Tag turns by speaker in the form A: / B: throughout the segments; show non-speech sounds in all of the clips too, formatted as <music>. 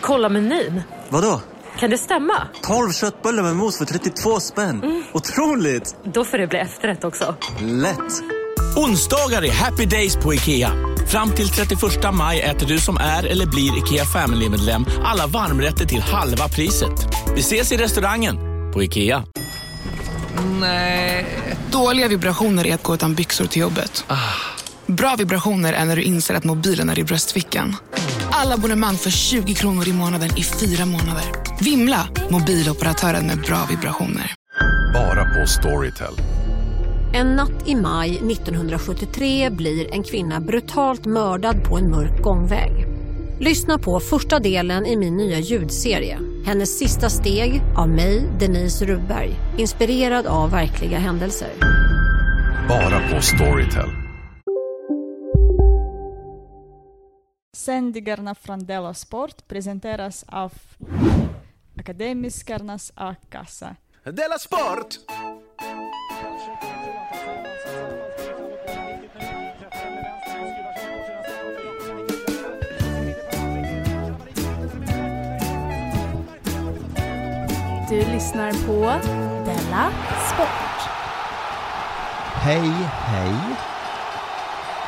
A: Kolla menyn.
B: Vadå?
A: Kan det stämma?
B: 12 köttbullar med mos för 32 spänn. Otroligt!
A: Då får det bli efterrätt också.
B: Lätt!
C: Onsdagar är happy days på IKEA. Fram till 31 maj äter du som är eller blir IKEA Family-medlem alla varmrätter till halva priset. Vi ses i restaurangen på IKEA.
D: Nej. Dåliga vibrationer är att gå utan byxor till jobbet. Bra vibrationer är när du inser att mobilen är i bröstfickan. Alla abonnemang för 20 kronor i månaden i fyra månader. Vimla! Mobiloperatören med bra vibrationer.
E: Bara på Storytel.
F: En natt i maj 1973 blir en kvinna brutalt mördad på en mörk gångväg. Lyssna på första delen i min nya ljudserie. Hennes sista steg av mig, Denise Rubberg. Inspirerad av verkliga händelser.
E: Bara på Storytel.
G: Sändningarna från Della Sport presenteras av Akademiskarnas A-kassa.
H: Della Sport!
I: Du lyssnar på Della Sport.
J: Hej, hej.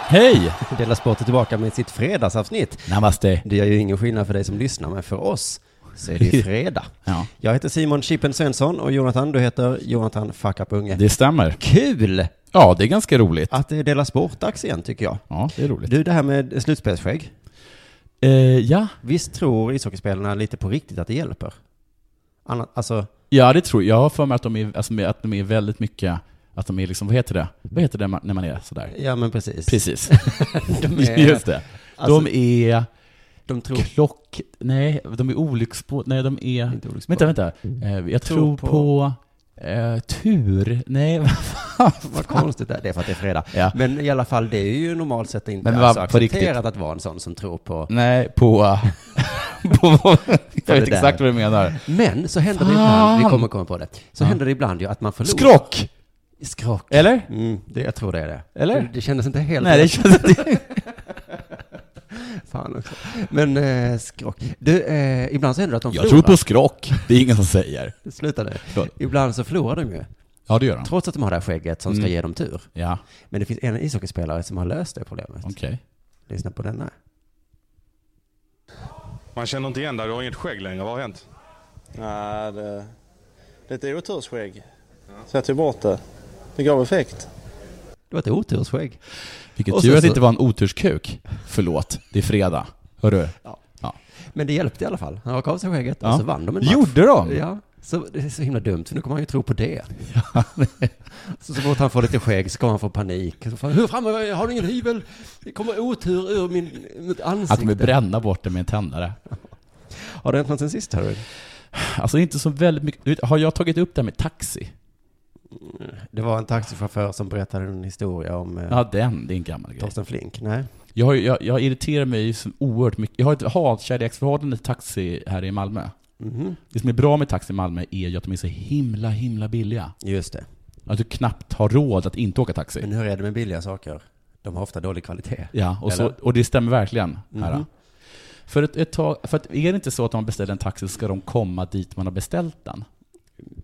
K: Hej!
J: <laughs> Dela Sport är tillbaka med sitt fredagsavsnitt.
K: Namaste.
J: Det gör ju ingen skillnad för dig som lyssnar, men för oss så är det
K: <laughs>
J: ju fredag.
K: Ja.
J: Jag heter Simon Chippen Svensson och Jonathan, du heter Jonathan Fuck Up Unge.
K: Det stämmer.
J: Kul
K: Ja, det är ganska roligt.
J: att det är Dela Sport-dags igen, tycker jag.
K: Ja, det är roligt.
J: Du, det här med slutspelsskägg.
K: Eh, ja.
J: Visst tror ishockeyspelarna lite på riktigt att det hjälper? Annat, alltså,
K: ja, det tror jag. Jag har för mig att de är, alltså, att de är väldigt mycket, att de är liksom, vad heter det? Vad heter det ma- när man är sådär?
J: ja men precis. <laughs>
K: Precis. <laughs>
J: De är-
K: Just det.
J: alltså-
K: de är
J: De tror...
K: klock... Nej, de är olycksbåt... Nej, de är...
J: Inte olycksbåt.
K: Vänta, vänta. Eh, Jag tror
J: på-
K: på... eh, tur? Nej, <laughs> vad fan?
J: Vad konstigt det är, det är för att det är fredag.
K: Ja.
J: Men i alla fall, det är ju normalt sett inte
K: Men vad-
J: alls
K: på
J: accepterat
K: riktigt?
J: att vara en sån som tror på...
K: Nej, på... <laughs> på jag vet
J: där.
K: exakt vad du menar.
J: Men så händer det
K: Fan!
J: ibland, vi kommer komma på det, så händer det ibland ju att man förlorar.
K: Skrock!
J: Skrock.
K: Eller?
J: Mm, det, jag tror det är det.
K: Eller?
J: Det, det kändes inte helt
K: Nej, det känns inte...
J: <laughs> Fan också. Men eh, skrock. Du, eh, ibland så händer det att de
K: Jag tror
J: förlorar.
K: på skrock. Det är ingen som säger.
J: Sluta nu.
K: Förlåt.
J: Ibland så förlorar de ju,
K: Ja, det gör han.
J: trots att de har det här skägget som ska ge dem tur.
K: Ja,
J: Men det finns en ishockeyspelare som har löst det problemet.
K: okej.
J: Lyssna på denna.
H: Man känner inte igen dig, du har inget skägg längre. Vad har hänt?
L: Nej, det, det är ett otursskägg. Så jag tog bort det. Det gav effekt.
J: Det var ett otursskägg.
K: Vilket
J: Och
K: tur
J: sen
K: att det
J: så-
K: inte var en oturskuk. Förlåt, det är fredag. Hörru.
J: Ja.
K: Ja.
J: Men det hjälpte i alla fall. Han rakade av sig skägget
K: Ja.
J: och så vann de en match.
K: Gjorde de?
J: Ja. Så det är så himla dumt, för nu kommer han ju tro på det. så, så fort han får lite skägg så kommer han få panik. Så får han, Hur framme, har du ingen hyvel? Det kommer otur ur min, mitt
K: Att de
J: ansikte.
K: vill bränna bort det med en tändare.
J: Har det hänt något sen sist, Harry?
K: Alltså inte så väldigt mycket. Du vet, Har jag tagit upp det här med taxi?
J: Det var en taxichaufför som berättade en historia om eh,
K: Ja, den. Det är en gammal grej.
J: Torsten Flink. Nej.
K: Jag, har ju- jag, jag irriterar mig ju så oerhört mycket. Jag har ett hatkärleksförhållande till taxi här i Malmö.
J: Mhm.
K: Det som är bra med taxi i Malmö är ju att de är så himla, himla billiga.
J: Just det.
K: Att du knappt har råd att inte åka taxi.
J: Men hur är det med billiga saker? De har ofta dålig kvalitet.
K: Ja, och, så,
J: Eller?
K: och det stämmer verkligen. Här.
J: Mhm.
K: För, ett, ett tag, för att är det inte så att om man beställer en taxi så ska de komma dit man har beställt den?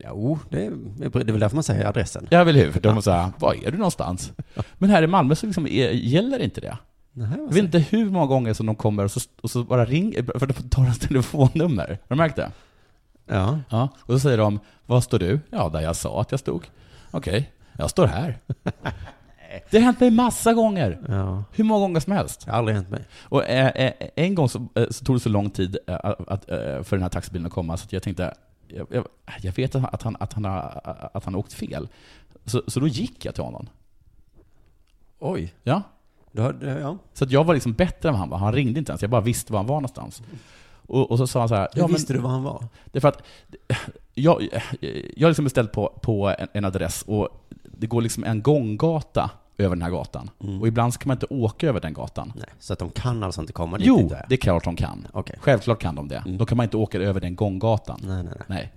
J: Jo, oh, det är, det är väl därför man säger adressen.
K: Ja, väl hur? För de måste säga, var är du någonstans? Men här i Malmö så liksom är, gäller inte det.
J: Nej,
K: Jag vet inte hur många gånger som de kommer och så, och så bara ringer, för de tar hans <laughs> telefonnummer. Har du märkt det?
J: Ja.
K: Ja. Och så säger de, var står du? Ja, där jag sa att jag stod. Okej, jag står
J: <laughs>
K: här. Det har hänt mig massa gånger.
J: ja.
K: Hur många gånger som helst.
J: Det har aldrig hänt mig.
K: Och eh, eh, en gång så, eh, så tog det så lång tid eh, att, eh, för den här taxibilen att komma så att jag tänkte, jag, jag, jag vet att han, att, han, att, han har, att han har åkt fel. Så, så då gick jag till honom.
J: Oj.
K: Ja.
J: Du har, ja.
K: Så att jag var liksom bättre än vad han var. Han ringde inte ens, jag bara visste var han var någonstans. Och, och så sa han så här,
J: Hur visste du var han var?
K: Det är för att jag, jag har liksom beställt på, på en, en adress och det går liksom en gånggata över den här gatan. Och ibland så kan man inte åka över den gatan.
J: Mm. Nej, så att de kan alltså inte komma dit?
K: Jo,
J: inte?
K: det är klart de kan.
J: Okej. Mm.
K: Självklart kan de det. Då kan man inte åka över den gånggatan.
J: Nej, nej, nej.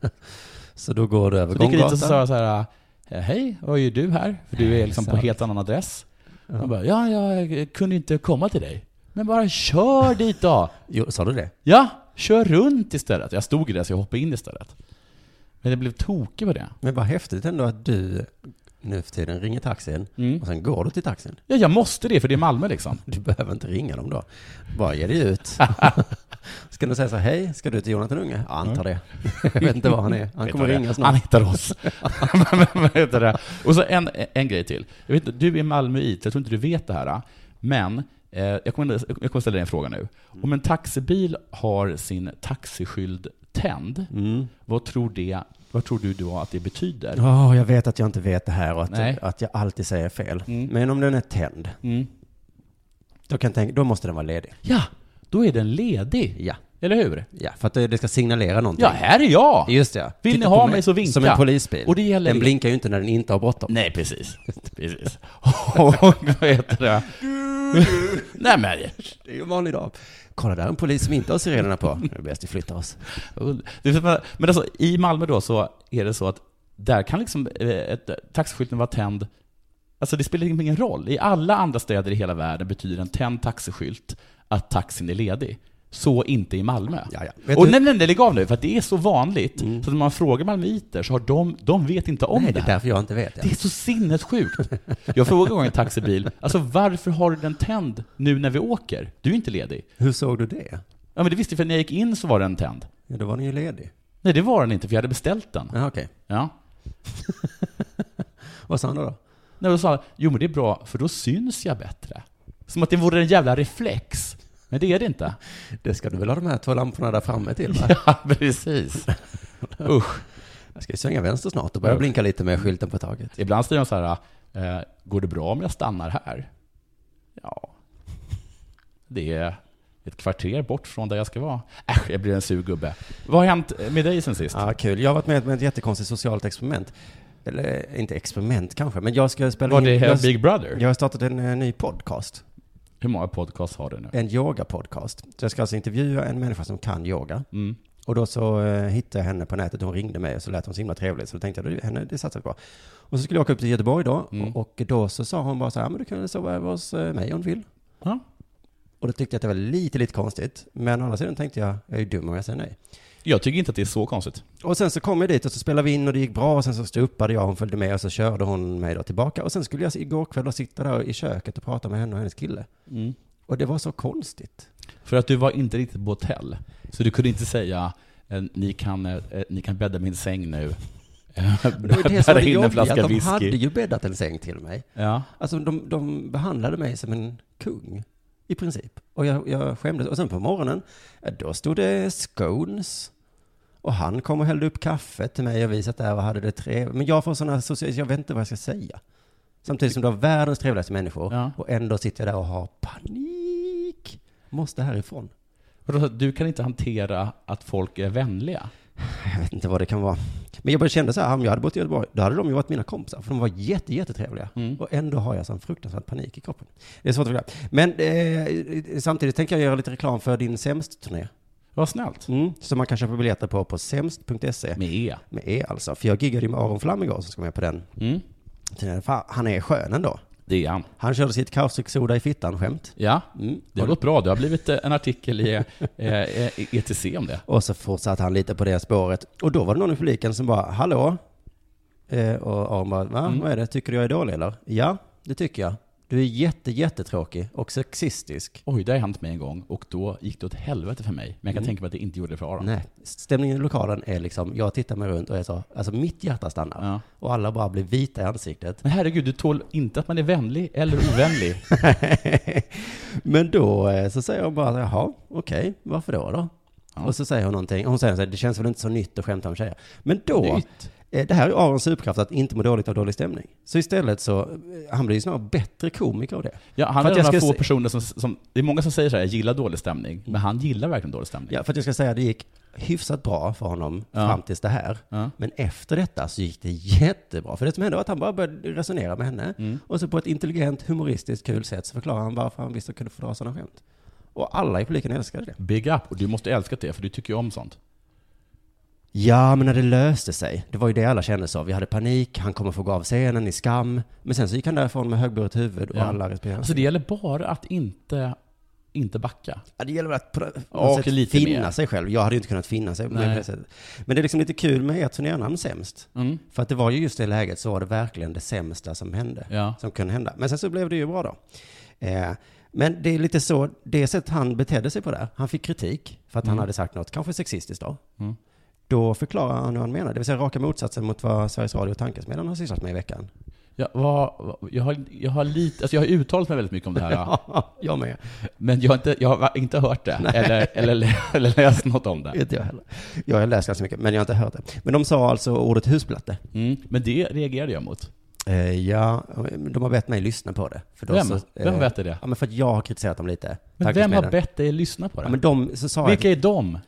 K: Nej.
J: <laughs> Så då går du över
K: Så gick jag dit
J: gånggatan?
K: och så sa jag så här, eh, hej, vad gör du här? För du är liksom på
J: Sant.
K: helt annan adress. Han bara, ja, jag kunde inte komma till dig.
C: Men bara kör dit då!
J: Jo, sa du det?
C: Ja, kör runt istället. Jag stod i det så jag hoppade in istället. Men jag blev tokig på det.
J: Men vad häftigt ändå att du nu för tiden ringer taxin och sen går du till taxin.
C: Mm. Ja, jag måste det för det är Malmö liksom.
J: <laughs> Du behöver inte ringa dem då. Bara ge dig
C: <laughs>
J: ut. ska du säga så här, hej, ska du till Jonathan Unge? Ja, antar det. Jag vet inte var han är. Han
C: Vet
J: kommer
C: vad det är.
J: ringa snart.
C: Han hittar
J: <laughs>
C: oss. <laughs> Men vad heter det? Och så en, en grej till. Jag vet, inte, du är Malmöit, jag tror inte du vet det här. Men eh, jag, kommer, jag kommer ställa dig en fråga nu. Om en taxibil har sin taxiskyld tänd,
J: Mm.
C: vad, tror det, vad tror du då att det betyder?
J: Ja, jag vet att jag inte vet det här och
C: Nej. Mm.
J: att, att jag alltid säger fel. Men om den är tänd, då, kan jag tänka, då måste den vara ledig.
C: Ja, då är den ledig.
J: Ja.
C: Eller hur?
J: Ja, för att det det ska signalera någonting.
C: Ja, här är jag!
J: Just det.
C: Vill
J: Titta
C: ni
J: på
C: ha mig så vinka.
J: Som en polisbil.
C: Och det gäller
J: den
C: er.
J: blinkar ju inte när den inte har bråttom.
C: Nej,
J: <laughs>
C: precis. <laughs> precis. Och vad heter det? Nej, men...
J: Det är ju en vanlig dag. Kolla, där är en polis som inte har sirenerna på. Det är bäst vi flyttar oss.
C: Det är så- Men alltså, i Malmö då så är det så att där kan liksom eh, ett, taxiskylten vara tänd. Alltså det spelar ingen roll. I alla andra städer i hela världen betyder en tänd taxiskylt att taxin är ledig. Så inte i Malmö.
J: Ja, ja. Vet
C: Och
J: du- Mm.
C: nej, nej, nej, lägg av nu, för att det är så vanligt. Så att när man frågar malmöiter så har de, de vet inte om
J: Nej, det
C: det
J: är
C: här.
J: därför jag inte vet. Ja.
C: Det är så sinnessjukt. Jag frågade en gång en taxibil, alltså varför har du den tänd nu när vi åker? Du är ju inte ledig.
J: Hur såg du det?
C: Ja men det visste jag, för när jag gick in så var den tänd.
J: Ja, då var den ju ledig.
C: Nej det var den inte, för jag hade beställt den.
J: Ja, okej.
C: Ja.
J: <laughs> Vad sa han då? då?
C: Nej, då sa han, jo men det är bra, för då syns jag bättre. Som att det vore en jävla reflex. Men det är det inte.
J: <laughs> Det ska du väl ha de här två lamporna där framme till, va?
C: <laughs> Ja,
J: <laughs>
C: precis. Usch.
J: Jag ska ju svänga vänster snart och börja blinka lite med skylten på taget.
C: Ibland säger de så här, eh, går det bra om jag stannar här? Ja, det är ett kvarter bort från där jag ska vara. Äsch, jag blir en sur gubbe. Vad har hänt med dig sen sist?
J: Ja, kul. Jag har varit med om ett jättekonstigt socialt experiment. Eller inte experiment kanske, men jag ska spela
C: Var
J: in...
C: det här
J: jag,
C: Big Brother?
J: jag har startat en eh, ny podcast.
C: Hur många podcasts har du nu?
J: En yogapodcast. Så jag ska alltså intervjua en människa som kan yoga.
C: Mm.
J: Och då så eh, hittade jag henne på nätet, hon ringde mig och så lät hon så himla trevlig. Så då tänkte jag, du, henne, det satsar vi på. Och så skulle jag åka upp till Göteborg då.
C: Mm.
J: Och då så sa hon bara så här, "Ja, men du kan väl sova över hos eh, mig om du vill.
C: Ja.
J: Och då tyckte jag att det var lite, lite konstigt. Men å andra sidan tänkte jag, jag är ju dum om jag säger nej.
C: Jag tycker inte att det är så konstigt.
J: Och sen så kom jag dit och så spelade vi in och det gick bra och sen så stupade jag, hon följde med och så körde hon mig då tillbaka. Och sen skulle jag igår kväll då sitta där i köket och prata med henne och hennes kille. Och det var så konstigt.
C: Mm. För att du var inte riktigt på hotell. Så du kunde inte säga, eh, ni kan, eh, ni kan bädda min säng nu. <laughs>
J: Det var ju det som var det
C: in en
J: jobbiga, att
C: flaska
J: de
C: whisky.
J: hade ju bäddat en säng till mig.
C: Ja.
J: Alltså de, de behandlade mig som en kung, i princip. Och jag, jag skämdes. Och sen på morgonen, ja, då stod det scones. Och han kom och hällde upp kaffe till mig och vi satt där och hade det trevligt. Men jag får sådana sociala, jag vet inte vad jag ska säga. Samtidigt som du har världens trevligaste människor
C: Ja.
J: och ändå sitter jag där och har panik. Måste härifrån.
C: Vadå, Du kan inte hantera att folk är vänliga.
J: Jag vet inte vad det kan vara. Men jag bara kände så här, om jag hade bott i Göteborg, då hade de ju varit mina kompisar, för de var jätte, jättetrevliga.
C: Mm.
J: Och ändå har jag sån fruktansvärd panik i kroppen. Det är svårt att förklara. Men eh, samtidigt tänker jag göra lite reklam för din Sämst-turné.
C: Vad snällt.
J: Mm, som man kan köpa biljetter på på sämst.se.
C: Med E.
J: Med E alltså. För jag giggade ju med Aron Flam igår som ska med på den.
C: Mm.
J: turnén. Fan, Han är skön ändå.
C: Det är han.
J: Han körde sitt kaustiksoda i fittan-skämt.
C: Ja,
J: Mm.
C: det har gått bra. Det har blivit eh, en artikel i eh, eh, ETC om det.
J: Och så fortsatte han lite på det spåret. Och då var det någon i publiken som bara, hallå? Eh, och Aron bara,
C: Mm.
J: Va? vad är det? Tycker du jag är dålig eller? Ja, det tycker jag. Du är jätte, jättetråkig och sexistisk.
C: Oj, det har hänt mig en gång och då gick det åt helvete för mig. Men jag kan tänka mig att det inte gjorde det för Aron.
J: Nej, stämningen i lokalen är liksom, jag tittar mig runt och jag sa, alltså mitt hjärta stannar.
C: Ja.
J: Och alla bara blir vita i ansiktet.
C: Men herregud, du tål inte att man är vänlig eller ovänlig.
J: <laughs> Men då eh, så säger hon bara, jaha, okej, varför då då? Och så säger hon någonting, hon säger så här, det känns väl inte så nytt att skämta om tjejer. Men då,
C: Nytt.
J: eh, det här är Arons superkraft, att inte må dåligt av dålig stämning. Så istället så, eh, han blir ju snarare bättre komiker av det.
C: Ja, han
J: För
C: är
J: att
C: en
J: jag
C: av de
J: ska
C: få
J: se-
C: personer som, som... Det är många som säger så här, jag gillar dålig stämning. Men han gillar verkligen dålig stämning.
J: Ja, för att jag ska säga, det gick hyfsat bra för honom
C: Ja.
J: fram tills det här.
C: Ja.
J: Men efter detta så gick det jättebra. För det som hände var att han bara började resonera med henne.
C: Mm.
J: Och så på ett intelligent, humoristiskt, kul sätt så förklarade han varför han visste att kunde få dra sådana skämt. Och alla i publiken älskade det.
C: Big up. Och du måste älska det, för du tycker ju om sånt.
J: Ja, men när det löste sig. Det var ju det alla kände så. Vi hade panik, han kommer få gå av scenen i skam. Men sen så gick han därifrån med högburet huvud och
C: Ja.
J: alla respekterade
C: Alltså det gäller bara att inte inte backa.
J: Ja, det gäller väl att på något
C: Ja, och
J: sätt
C: lite
J: finna
C: mer.
J: sig själv. Jag hade ju inte kunnat finna sig
C: Nej.
J: med det sättet. Men det är liksom lite kul med ert turnernamn Sämst.
C: Mm.
J: För att det var ju just det läget så var det verkligen det sämsta som hände. Som kunde hända. Men sen så blev det ju bra då. Eh, men det är lite så, det sätt han betedde sig på där. Han fick kritik för att han
C: Mm.
J: hade sagt något, kanske sexistiskt då.
C: Mm.
J: Då förklarar han hur han menar. Det vill säga raka motsatsen mot vad Sveriges Radio och Tankesmedjan har sysslat med i veckan.
C: Jag, vad- vad- jag, har, jag, har lite, alltså jag har uttalat mig väldigt mycket om det här.
J: <laughs> Ja, jag med.
C: Men jag har inte, jag har inte hört det,
J: Nej.
C: eller, eller, lä- <laughs> eller läst något om det.
J: Inte jag heller. Jag har läst ganska mycket, men jag har inte hört det. Men de sa alltså ordet husplatte.
C: Mm. Men det reagerade jag mot.
J: Eh, ja, de har bett mig lyssna på det. För då
C: Vem?
J: Så, eh,
C: Vem har bett dig det?
J: Ja, men för att jag har kritiserat dem lite.
C: Men vem
J: Tankesmedjan.
C: har bett dig lyssna på det?
J: Ja, men de, så sa
C: Vilka
J: jag,
C: är de?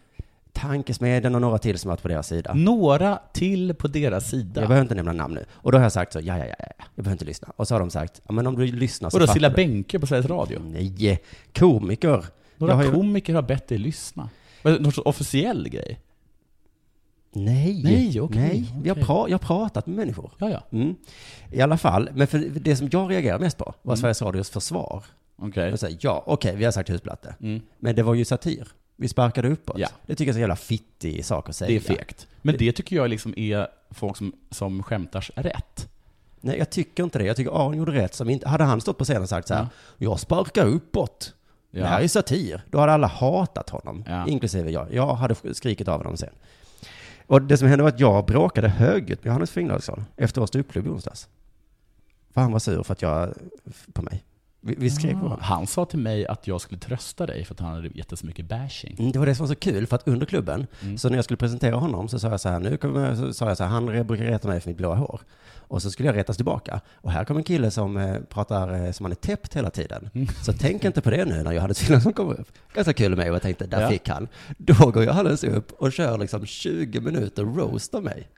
J: Tankesmedjan och några till som varit på deras sida.
C: Några till på deras sida.
J: Jag behöver inte nämna namn nu. Och då har jag sagt så, ja, ja, ja, ja, jag behöver inte lyssna. Och så har de sagt, ja men om du lyssnar så
C: Vadå, Cilla
J: du.
C: Bänke på Sveriges Radio?
J: Nej, komiker. Jag
C: Några
J: har ju-
C: komiker har bett dig lyssna. Var det Någon sorts officiell grej?
J: Nej.
C: Nej, okej,
J: Nej. Vi har
C: okej.
J: pra- jag har pratat med människor.
C: Ja, ja.
J: Mm. I alla fall, men för det som jag reagerar mest på var
C: Mm.
J: Sveriges Radios försvar.
C: Okej.
J: Jag säger, ja, okej, vi har sagt husplatte.
C: Mm.
J: Men det var ju satir. Vi sparkade uppåt.
C: Ja.
J: Det tycker jag är så jävla fittig sak att säga.
C: Det är fegt. Men det tycker jag liksom är folk som, som skämtar rätt.
J: Nej, jag tycker inte det. Jag tycker Aron gjorde rätt som inte... Hade han stått på scenen och sagt så här, jag sparkar uppåt.
C: Ja.
J: Det här är satir. Då hade alla hatat honom,
C: Ja.
J: inklusive jag. Jag hade skrikit av honom sen. Och det som hände var att jag bråkade högljutt med Johannes Finnlaugsson efter vår ståuppklubb i onsdags. För han var sur för att jag... på mig. Vi, vi skrev på
C: Ah.
J: varandra.
C: Han sa till mig att jag skulle trösta dig för att han hade gett dig så mycket bashing.
J: Mm, Det var det som var så kul, för att under klubben,
C: Mm.
J: så när jag skulle presentera honom så sa jag så här, nu kommer, så sa jag så här, han re- brukar reta mig för mitt blåa hår. Och så skulle jag retas tillbaka. Och här kommer en kille som eh, pratar eh, som han är täppt hela tiden.
C: Mm.
J: Så tänk inte på det nu när jag hade killen som kom upp. Ganska kul med mig och jag tänkte, där
C: Ja.
J: fick han. Då går jag alldeles upp och kör liksom 20 minuter roast av mig.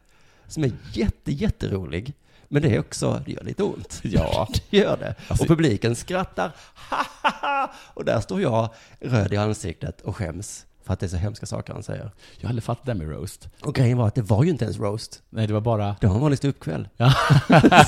J: Som är jätte, jätterolig. Men det är också, det gör lite ont.
C: <laughs> Ja.
J: <laughs>
C: Alltså-
J: det gör det. och publiken skrattar. <laughs> Och där står jag röd i ansiktet och skäms för att det är så hemska saker han säger.
C: Jag har aldrig fattat det här med roast.
J: Och grejen var att det var ju inte ens roast.
C: Nej, det var bara...
J: Det var en vanlig ståuppkväll. <laughs>
C: Ja. <laughs>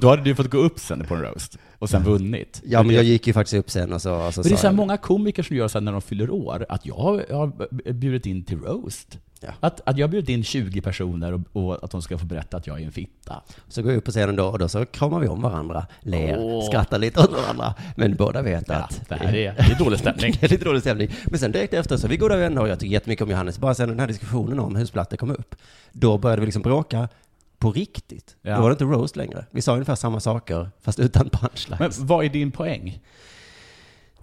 C: Då hade du fått gå upp sen på en roast och sen vunnit.
J: Ja, men jag gick ju faktiskt upp sen och så, och så
C: Mm. Men det är
J: sa
C: så här
J: jag,
C: många komiker som gör så här när de fyller år, att jag har, jag har bjudit in till roast.
J: Ja.
C: Att, att jag har bjudit in 20 personer och, och att de ska få berätta att jag är en fitta.
J: så går jag upp på scenen då och då så kramar vi om varandra, ler,
C: Åh.
J: skrattar lite åt varandra. Men båda vet
C: Ja,
J: att...
C: det här är, det är dålig stämning.
J: <laughs> Det är lite dålig stämning. Men sen direkt efter så är vi goda vänner och jag tycker jättemycket om Johannes. Bara sen den här diskussionen om husplattor kom upp, då började vi liksom bråka på riktigt.
C: Ja.
J: Då var det inte roast längre. Vi sa ungefär samma saker, fast utan punchline.
C: Men vad är din poäng?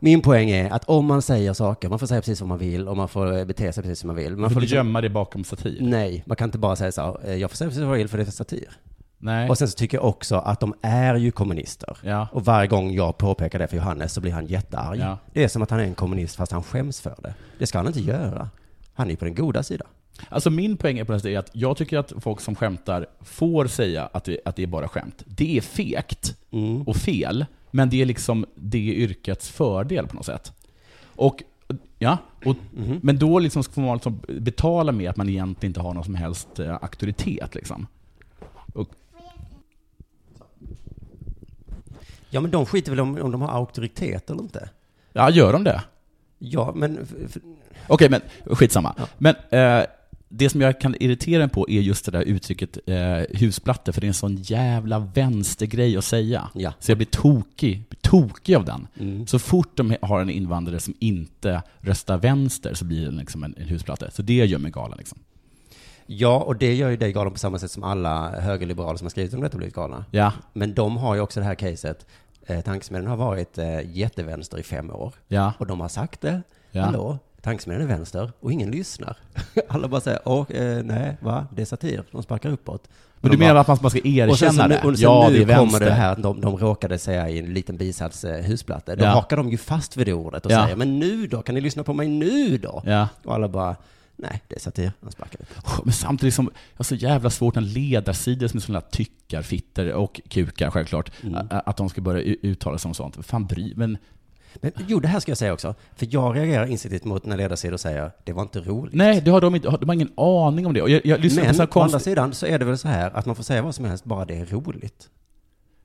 J: Min poäng är att om man säger saker, man får säga precis vad man vill och man får eh, bete sig precis som man vill. Man
C: Man får
J: får
C: du
J: liksom,
C: gömma dig bakom satir?
J: nej, man kan inte bara säga så här, "Eh, jag får säga precis vad jag vill för det är för satir.
C: Nej.
J: Och sen så tycker jag också att de är ju kommunister.
C: Ja.
J: Och varje gång jag påpekar det för Johannes så blir han jättearg.
C: Ja.
J: Det är som att han är en kommunist fast han skäms för det. Det ska han inte göra. Han är ju på den goda sidan.
C: Alltså min poäng är på något sätt är att jag tycker att folk som skämtar får säga att det, att det är bara skämt. Det är fegt och fel, men det är liksom det yrkets fördel på något sätt. Och, ja, och,
J: Mhm.
C: Men då liksom får man liksom betala med att man egentligen inte har någon som helst eh, auktoritet. Liksom. Och,
J: Ja, men de skiter väl om, om de har auktoritet eller inte.
C: ja, gör de det?
J: Ja, men... f- f-
C: Okej, men skitsamma. Men eh, det som jag kan irritera mig på är just det där uttrycket eh, husplatte, för det är en sån jävla vänstergrej att säga.
J: Ja.
C: Så jag blir tokig, blir tokig av den.
J: Mm.
C: Så fort de har en invandrare som inte röstar vänster så blir det liksom en, en husplatte. Så det gör mig galen. Liksom.
J: Ja, och det gör ju dig galen på samma sätt som alla högerliberaler som har skrivit om detta blivit galna.
C: Ja,
J: Men de har ju också det här caset. Eh, tankesmedjan har varit eh, jättevänster i fem år.
C: ja.
J: Och de har sagt det.
C: Ja.
J: Hallå, tankesmedjan är vänster och ingen lyssnar. <laughs> Alla bara säger, åh, eh, nej, va? Det är satir. De sparkar uppåt. Och
C: Men
J: de
C: du menar
J: bara-
C: att man- man ska erkänna
J: och sen, så nu,
C: det?
J: och sen
C: ja,
J: nu
C: det är
J: kommer
C: vänster.
J: det här att de, de råkade säga i en liten bisats eh, husplatta. Då
C: Ja.
J: hakar de ju fast vid det ordet och
C: Ja.
J: säger, men nu då? Kan ni lyssna på mig nu då?
C: Ja.
J: Och alla bara, nej, det är satir. De sparkar uppåt.
C: Åh, Men samtidigt som, jag har så jävla svårt när ledarsidor som är sådana där tyckar, fitter och kukar självklart, a- a- att de ska börja u- uttala sig om sånt. Fan bry, men
J: Men jo, det här ska jag säga också. För jag reagerar instinktivt mot när ledarsidor säger, det var inte roligt.
C: nej, det har de inte, de har ingen aning om det. Och jag, jag lyssnar på
J: Men
C: sådana
J: å andra
C: konst...
J: sidan så är det väl så här att man får säga vad som helst bara det är roligt.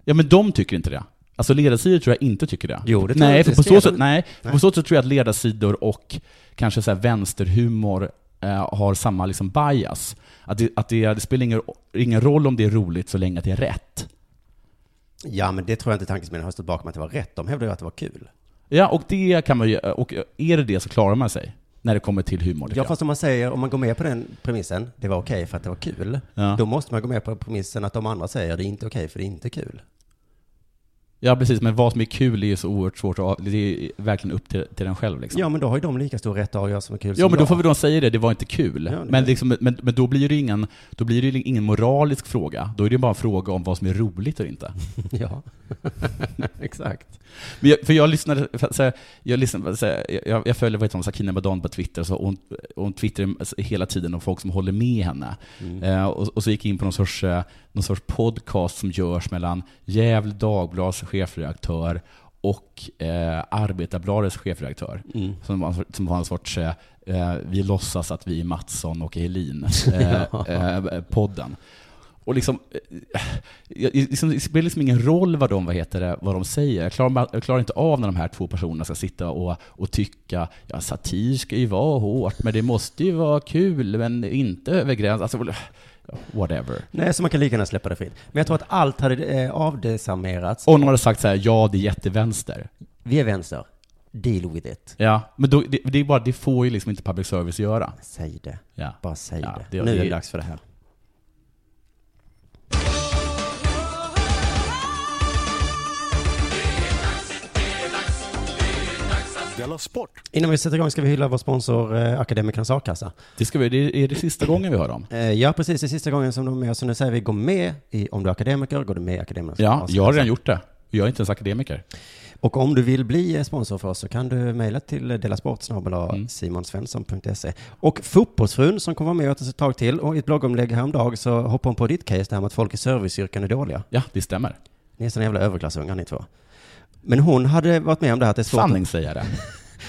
C: Ja men de tycker inte det. Alltså ledarsidor tror jag inte tycker det.
J: Jo, det tror
C: nej,
J: jag.
C: för
J: Det
C: på
J: ser
C: så
J: jag
C: sätt,
J: som-
C: nej,
J: Nej.
C: på så sätt tror jag att ledarsidor och kanske så här vänsterhumor eh, har samma liksom bias. Att det, att det, det spelar ingen, ingen roll om det är roligt så länge att det är rätt.
J: Ja, men det tror jag inte tankesmedjan har stått bakom att det var rätt. De hävdar ju att det var kul.
C: Ja, och det kan man ju, och är det det så klarar man sig. När det kommer till humor. tycker
J: Ja, fast om man säger, om man går med på den premissen, det var okej för att det var kul,
C: Ja.
J: då måste man gå med på premissen att de andra säger det är inte okej för det är inte kul.
C: jag. ja, precis. Men vad som är kul är ju så oerhört svårt att av- Det är verkligen upp till, till den själv liksom.
J: Ja, men då har ju de lika stor rätt att avgöra som är kul
C: Ja
J: som
C: men då
J: jag.
C: får vi då säga det, det var inte kul.
J: Ja, det-
C: men, liksom, men, men då blir det ju ingen, då blir det ju ingen moralisk fråga. Då är det bara en fråga om vad som är roligt och inte.
J: <laughs> Ja, <laughs> exakt.
C: Men jag, för jag lyssnade, för, så här, jag, lyssnade så här, jag, jag följer vad heter hon, Sakina Badan på Twitter, så hon, hon twittrar hela tiden om folk som håller med henne.
J: Mm.
C: Eh, och, och så gick jag in på någon sorts, eh, någon sorts podcast som görs mellan Gävle Dagblads chefredaktör och eh, Arbetarbladets chefredaktör.
J: Mm.
C: Som, var- som var en sorts eh, eh, Vi låtsas att vi är Mattsson och
J: <laughs>
C: Elin.
J: Ja.
C: Eh, eh, podden. Och liksom, eh, jag- liksom, det spelar liksom ingen roll vad de, vad heter det, vad de säger. Jag klarar, jag klarar inte av när de här två personerna ska sitta och, och tycka ja, satir ska ju vara hårt, men det måste ju vara kul, men inte över gränsen. Alltså, whatever.
J: Nej, så man kan lika gärna släppa det fritt. Men jag tror att allt hade eh, avdesamerats.
C: Om de hade sagt så här, ja det är jättevänster.
J: Vi är vänster. Deal with it.
C: Ja, men då, det, det, är bara, det får ju liksom inte public service göra.
J: Säg det.
C: Ja.
J: Bara säg
C: Ja,
J: det.
C: det-
J: Nu är
C: det-
J: det dags för det här.
H: Della Sport.
J: Innan vi sätter igång ska vi hylla vår sponsor eh, Akademikernas A-kassa.
C: Det, ska vi, det är det sista gången vi hör dem.
J: Eh, ja, precis. Det är sista gången som de är med. Så nu säger vi gå med i, om du är akademiker, går du med i Akademikernas
C: Ja,
J: A-kassa.
C: jag har redan gjort det. Jag är inte ens akademiker.
J: Och om du vill bli eh, sponsor för oss så kan du mejla till eh,
C: Mm.
J: delasportsnabel-simonsvensson.se. Och fotbollsfrun som kommer vara med oss ett tag till och i ett bloggomlägg häromdagen så hoppade hon på ditt case där med att folk i serviceyrken är dåliga.
C: Ja, det stämmer.
J: Ni är såna jävla överklassungar ni två. Men hon hade varit med om det här att det är svårt,
C: Sanningssägare.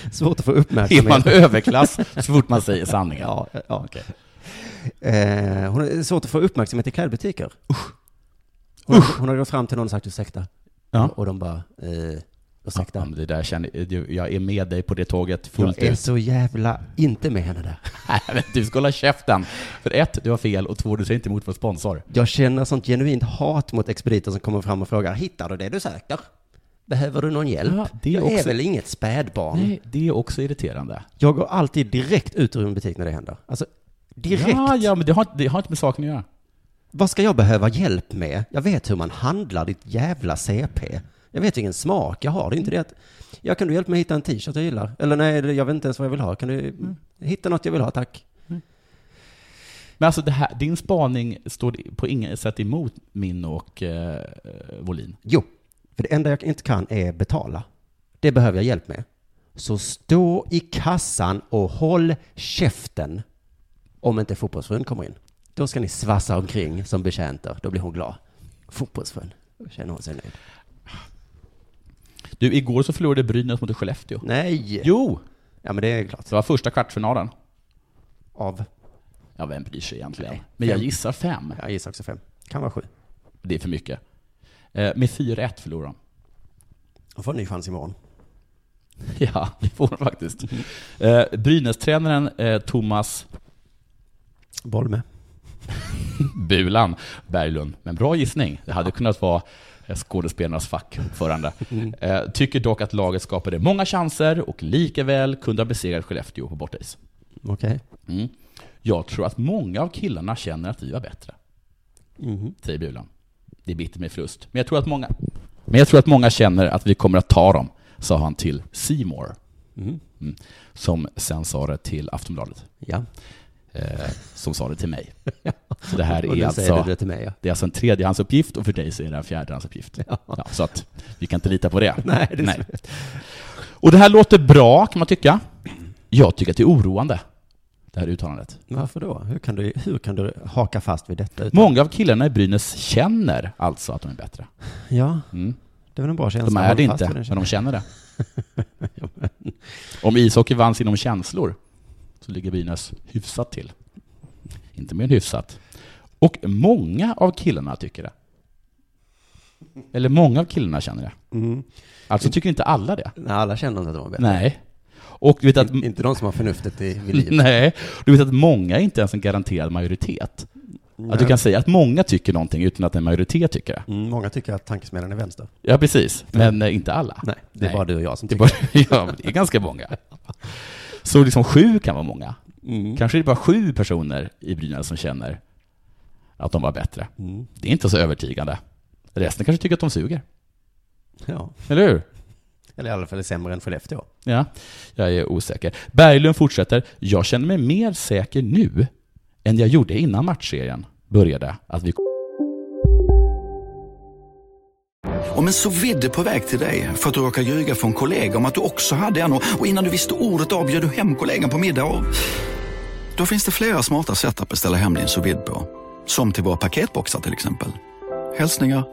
J: att, <laughs> svårt att få
C: Är man
J: uppmärksamhet.
C: överklass så fort man säger sanningen?
J: Ja, ja. Eh, hon är svårt att få uppmärksamhet i klädbutiker. Hon, hon har gått fram till någon och sagt ursäkta.
C: Ja.
J: Och de bara, eh,
C: Ja,
J: ursäkta.
C: men det där känner, det- jag är med dig på det tåget fullt
J: Jag är
C: ut. <laughs>
J: så jävla inte med henne där.
C: Nej, men du ska hålla käften. För ett, du har fel och två, du säger inte emot vår sponsor.
J: Jag känner sånt genuint hat mot expediter som kommer fram och frågar, hittar du det du söker? Behöver du någon hjälp?
C: Ja, det är
J: jag är
C: också-
J: väl inget spädbarn?
C: Nej, det är också irriterande.
J: Jag går alltid direkt ut ur en butik när det händer. Alltså, direkt.
C: Ja, Ah, ja, men det har, det har inte med saken att göra.
J: Vad ska jag behöva hjälp med? Jag vet hur man handlar ditt jävla CP. Jag vet vilken smak jag har. Det är inte det att... Ja, kan du hjälpa mig hitta en t-shirt jag gillar? Eller nej, jag vet inte ens vad jag vill ha. Kan du hitta något jag vill ha, tack?
C: Men alltså, det här, din spaning står på inget sätt emot min och eh, Volin.
J: Jo, för det enda jag inte kan är betala. Det behöver jag hjälp med. Så stå i kassan och håll käften om inte fotbollsfrun kommer in. Då ska ni svassa omkring som betjänter. Då blir hon glad. Fotbollsfrun, då känner hon sig nöjd.
C: Du, igår så förlorade Brynäs mot Skellefteå.
J: Nej!
C: Jo!
J: Ja, men det är klart.
C: Det var första kvartsfinalen.
J: Av?
C: Ja, vem bryr sig egentligen?
J: Nej.
C: Men jag
J: Fem.
C: gissar fem.
J: Jag gissar också fem. Kan vara sju.
C: Det är för mycket. Eh, med 4-1 förlorar de.
J: Hon får en ny chans imorgon.
C: <laughs> Ja, det får de faktiskt. Eh, Brynäs-tränaren eh, Thomas
J: Boll med.
C: <laughs> Bulan Berglund, men bra gissning. Det hade kunnat vara eh, skådespelarnas fackordförande.
J: Mm.
C: Eh, tycker dock att laget skapade många chanser och likaväl kunde ha besegrat Skellefteå på bortais.
J: Okej.
C: Mm. Jag tror att många av killarna känner att vi var bättre,
J: Mhm.
C: säger Bulan. Det är bitter med förlust. Men jag tror att många, men jag tror att många känner att vi kommer att ta dem, sa han till Seymour,
J: Mhm.
C: mm. som sen sa det till Aftonbladet.
J: Ja.
C: eh, som sa det till
J: <laughs>
C: mig. Så det här
J: och nu
C: är
J: säger du
C: alltså,
J: det till mig, ja.
C: det är alltså en tredjehandsuppgift och för dig så är det en fjärdehandsuppgift.
J: Ja.
C: Ja, så att vi kan inte lita på det.
J: <laughs> Nej, det är
C: Och det här låter bra kan man tycka. Jag tycker att det är oroande, det här uttalandet.
J: Varför då? Hur kan, du, hur kan du haka fast vid detta? utan-
C: Många av killarna i Brynäs känner alltså att de är bättre.
J: Ja,
C: Mm.
J: det är väl en bra känsla.
C: De är
J: Håll
C: det
J: fast
C: inte,
J: vid den
C: men de känner det. Om ishockey vanns inom känslor så ligger Brynäs hyfsat till. Inte mer än hyfsat. Och många av killarna tycker det. Eller många av killarna känner det.
J: Mm.
C: Alltså tycker inte alla det.
J: Nej, alla känner inte att de är bättre.
C: Nej. Och du vet att...
J: Inte de som har förnuftet i vid liv.
C: Nej. Du vet att många är inte ens en garanterad majoritet. Att du
J: Nej.
C: kan säga att många tycker någonting utan att en majoritet tycker det.
J: Mm, många tycker att tankesmedjan är vänster.
C: Ja, precis. Men eh, inte alla.
J: Nej, det är bara du och jag som
C: tycker det. Är bara, <laughs> ja, men det är ganska många. Så liksom sju kan vara många.
J: Mm.
C: Kanske är det bara sju personer i Brynäs som känner att de var bättre.
J: Mm.
C: Det är inte så övertygande. Resten kanske tycker att de suger.
J: Ja.
C: Eller hur?
J: Eller i alla fall är sämre än Skellefteå.
C: Ja, jag är osäker. Berglund fortsätter. Jag känner mig mer säker nu än jag gjorde innan matchserien började. Att vi
D: Om en så vidde på väg till dig för att du råkar ljuga från kollega om att du också hade en och och innan du visste ordet av bjöd du hem kollegan på middag och... Då finns det flera smarta sätt att beställa hem din sous vide på. Som till våra paketboxar till exempel. Hälsningar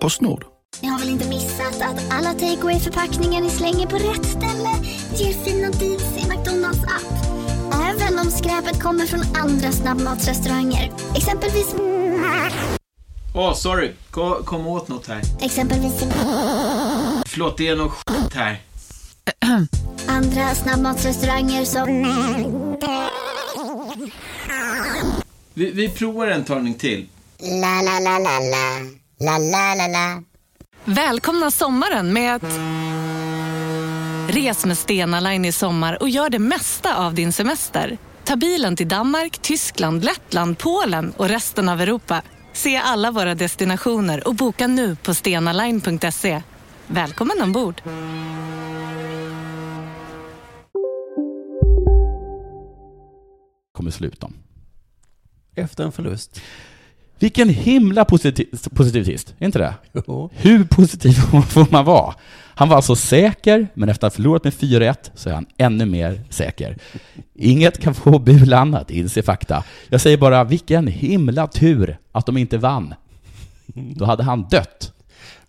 D: Postnord.
M: Ni har väl inte missat att alla takeaway förpackningar ni slänger på rätt ställe ger fina deals i McDonalds app. Även om skräpet kommer från andra snabbmatsrestauranger. Exempelvis...
N: Åh, sorry. Kom, kom åt något här.
M: Exempelvis...
N: Förlåt, det är något skit här.
M: Andra snabbmatsrestauranger som...
N: Vi, vi provar en talning till.
O: La la la la la. La la la la.
A: Välkomna sommaren med att... Res med Stena Line i sommar och gör det mesta av din semester. Ta bilen till Danmark, Tyskland, Lettland, Polen och resten av Europa. Se alla våra destinationer och boka nu på stenaline.se. Välkommen ombord!
C: kommer sluta om.
J: Efter en förlust.
C: Vilken himla positi- positivist, är inte det? Hur positiv <laughs> får man vara? Han var alltså säker, men efter att ha förlorat med 4-1 så är han ännu mer säker. Inget kan få Bulan att inse fakta. Jag säger bara, vilken himla tur att de inte vann. Då hade han dött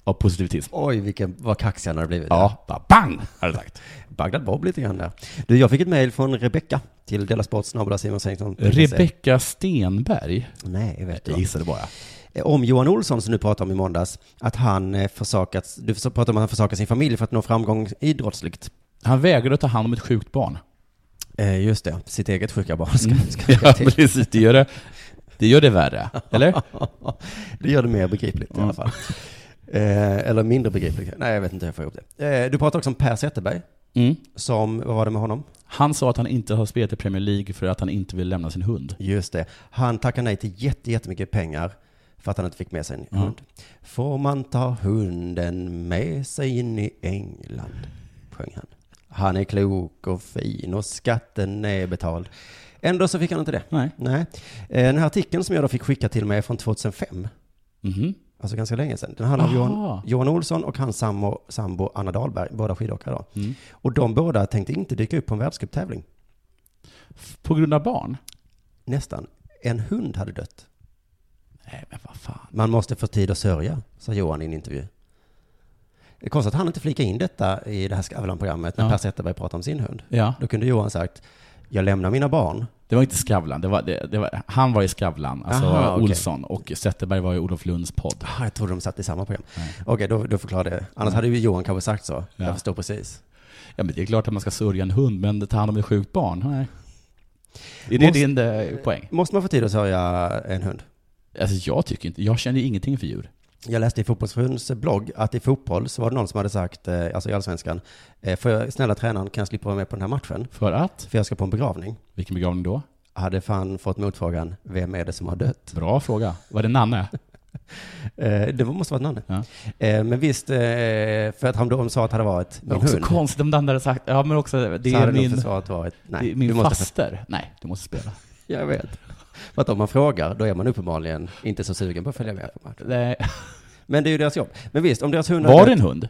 C: av positivism.
J: Oj, vilken, vad kaxig han hade blivit.
C: Ja, bara bang, hade sagt.
J: Bagdad Bob lite grann där. Du, jag fick ett mejl från Rebecka till delasport.simonsengton.
C: Rebecka Stenberg?
J: Nej, vet du
C: Jag
J: vad.
C: gissade bara.
J: Eh, Om Johan Olsson som du pratade om i måndags, att han eh, försakats, du förs- pratade om att han försakat sin familj för att nå framgång idrottsligt.
C: Han vägrade att ta hand om ett sjukt barn. Mm.
J: Eh, just det, sitt eget sjuka barn <laughs> ska, ska
C: Ja,
J: lägga till.
C: precis. Det gör det, det gör det
J: <laughs>
C: värre, eller? Mm.
J: det gör det mer begripligt i alla fall. Eh, eller mindre begripligt. Nej, jag vet inte hur jag får ihop det. Eh, du pratade också om Per Zetterberg.
C: Mm.
J: Som, vad var det med honom?
C: Han sa att han inte har spelat i Premier League för att han inte vill lämna sin hund.
J: Just det. Han tackar nej till jätte, jättemycket pengar för att han inte fick med sig en
C: Ja.
J: hund. Får man ta hunden med sig in i England? Sjöng han. Han är klok och fin och skatten är betald. Ändå så fick han inte det.
C: Nej.
J: Nej. Eh, Den här artikeln som jag då fick skicka till mig är från 2005. Alltså ganska länge sedan. Den handlar om Johan,
C: Mhm. Aha.
J: Johan Olsson och hans sambo, sambo Anna Dahlberg, båda skidåkare då.
C: Mm.
J: Och de båda tänkte inte dyka upp på en världscuptävling.
C: På grund av barn?
J: Nästan. En hund hade dött.
C: Nej, men vad fan.
J: Man måste få tid att sörja, sa Johan i en intervju. Det är konstigt att han inte flikade in detta i det här Skavlan-programmet när
C: Ja.
J: Per Zetterberg pratade om sin hund.
C: Ja.
J: Då kunde Johan sagt, jag lämnar mina barn.
C: Det var inte Skavlan, det var, det, det var, han var i Skavlan, alltså
J: Aha, okej.
C: Olsson, och Zetterberg var i Olof Lunds podd. Mm.
J: Ah, <laughs> jag trodde de satt i samma program. Okej, då, då förklarar det. Annars hade ju Johan kanske sagt så. Jag förstår precis.
C: Ja, men det är klart att man ska sörja en hund, men ta hand om ett sjukt barn? Nej. Är det
J: Måste-
C: din eh, poäng?
J: Måste man få tid att sörja en hund?
C: Alltså jag tycker inte, jag känner ju ingenting för djur.
J: Jag läste i Fotbollsförbundets blogg att i fotboll så var det någon som hade sagt, eh, alltså i Allsvenskan, eh, får jag, snälla tränaren, kan jag slippa vara med på den här matchen?
C: För att?
J: För jag ska på en begravning.
C: Vilken begravning då?
J: Hade fan fått motfrågan, vem är det som har dött?
C: Bra fråga. Var det Nanne?
J: Eh, Det måste vara ett namn.
C: Ja.
J: Eh, Men visst, eh, för att han då sa att det hade varit
C: Det är
J: min
C: också
J: hund.
C: konstigt om den där hade sagt, ja men också, det
J: Så
C: är
J: hade nog
C: min,
J: försvaret varit, nej,
C: det är min
J: du måste-
C: faster. Nej, du måste spela.
J: <laughs> Jag vet. För att om man frågar, då är man uppenbarligen inte så sugen på att följa med på matchen.
C: Nej.
J: Men det är ju deras jobb. Men visst, om deras hund...
C: Var det en hund?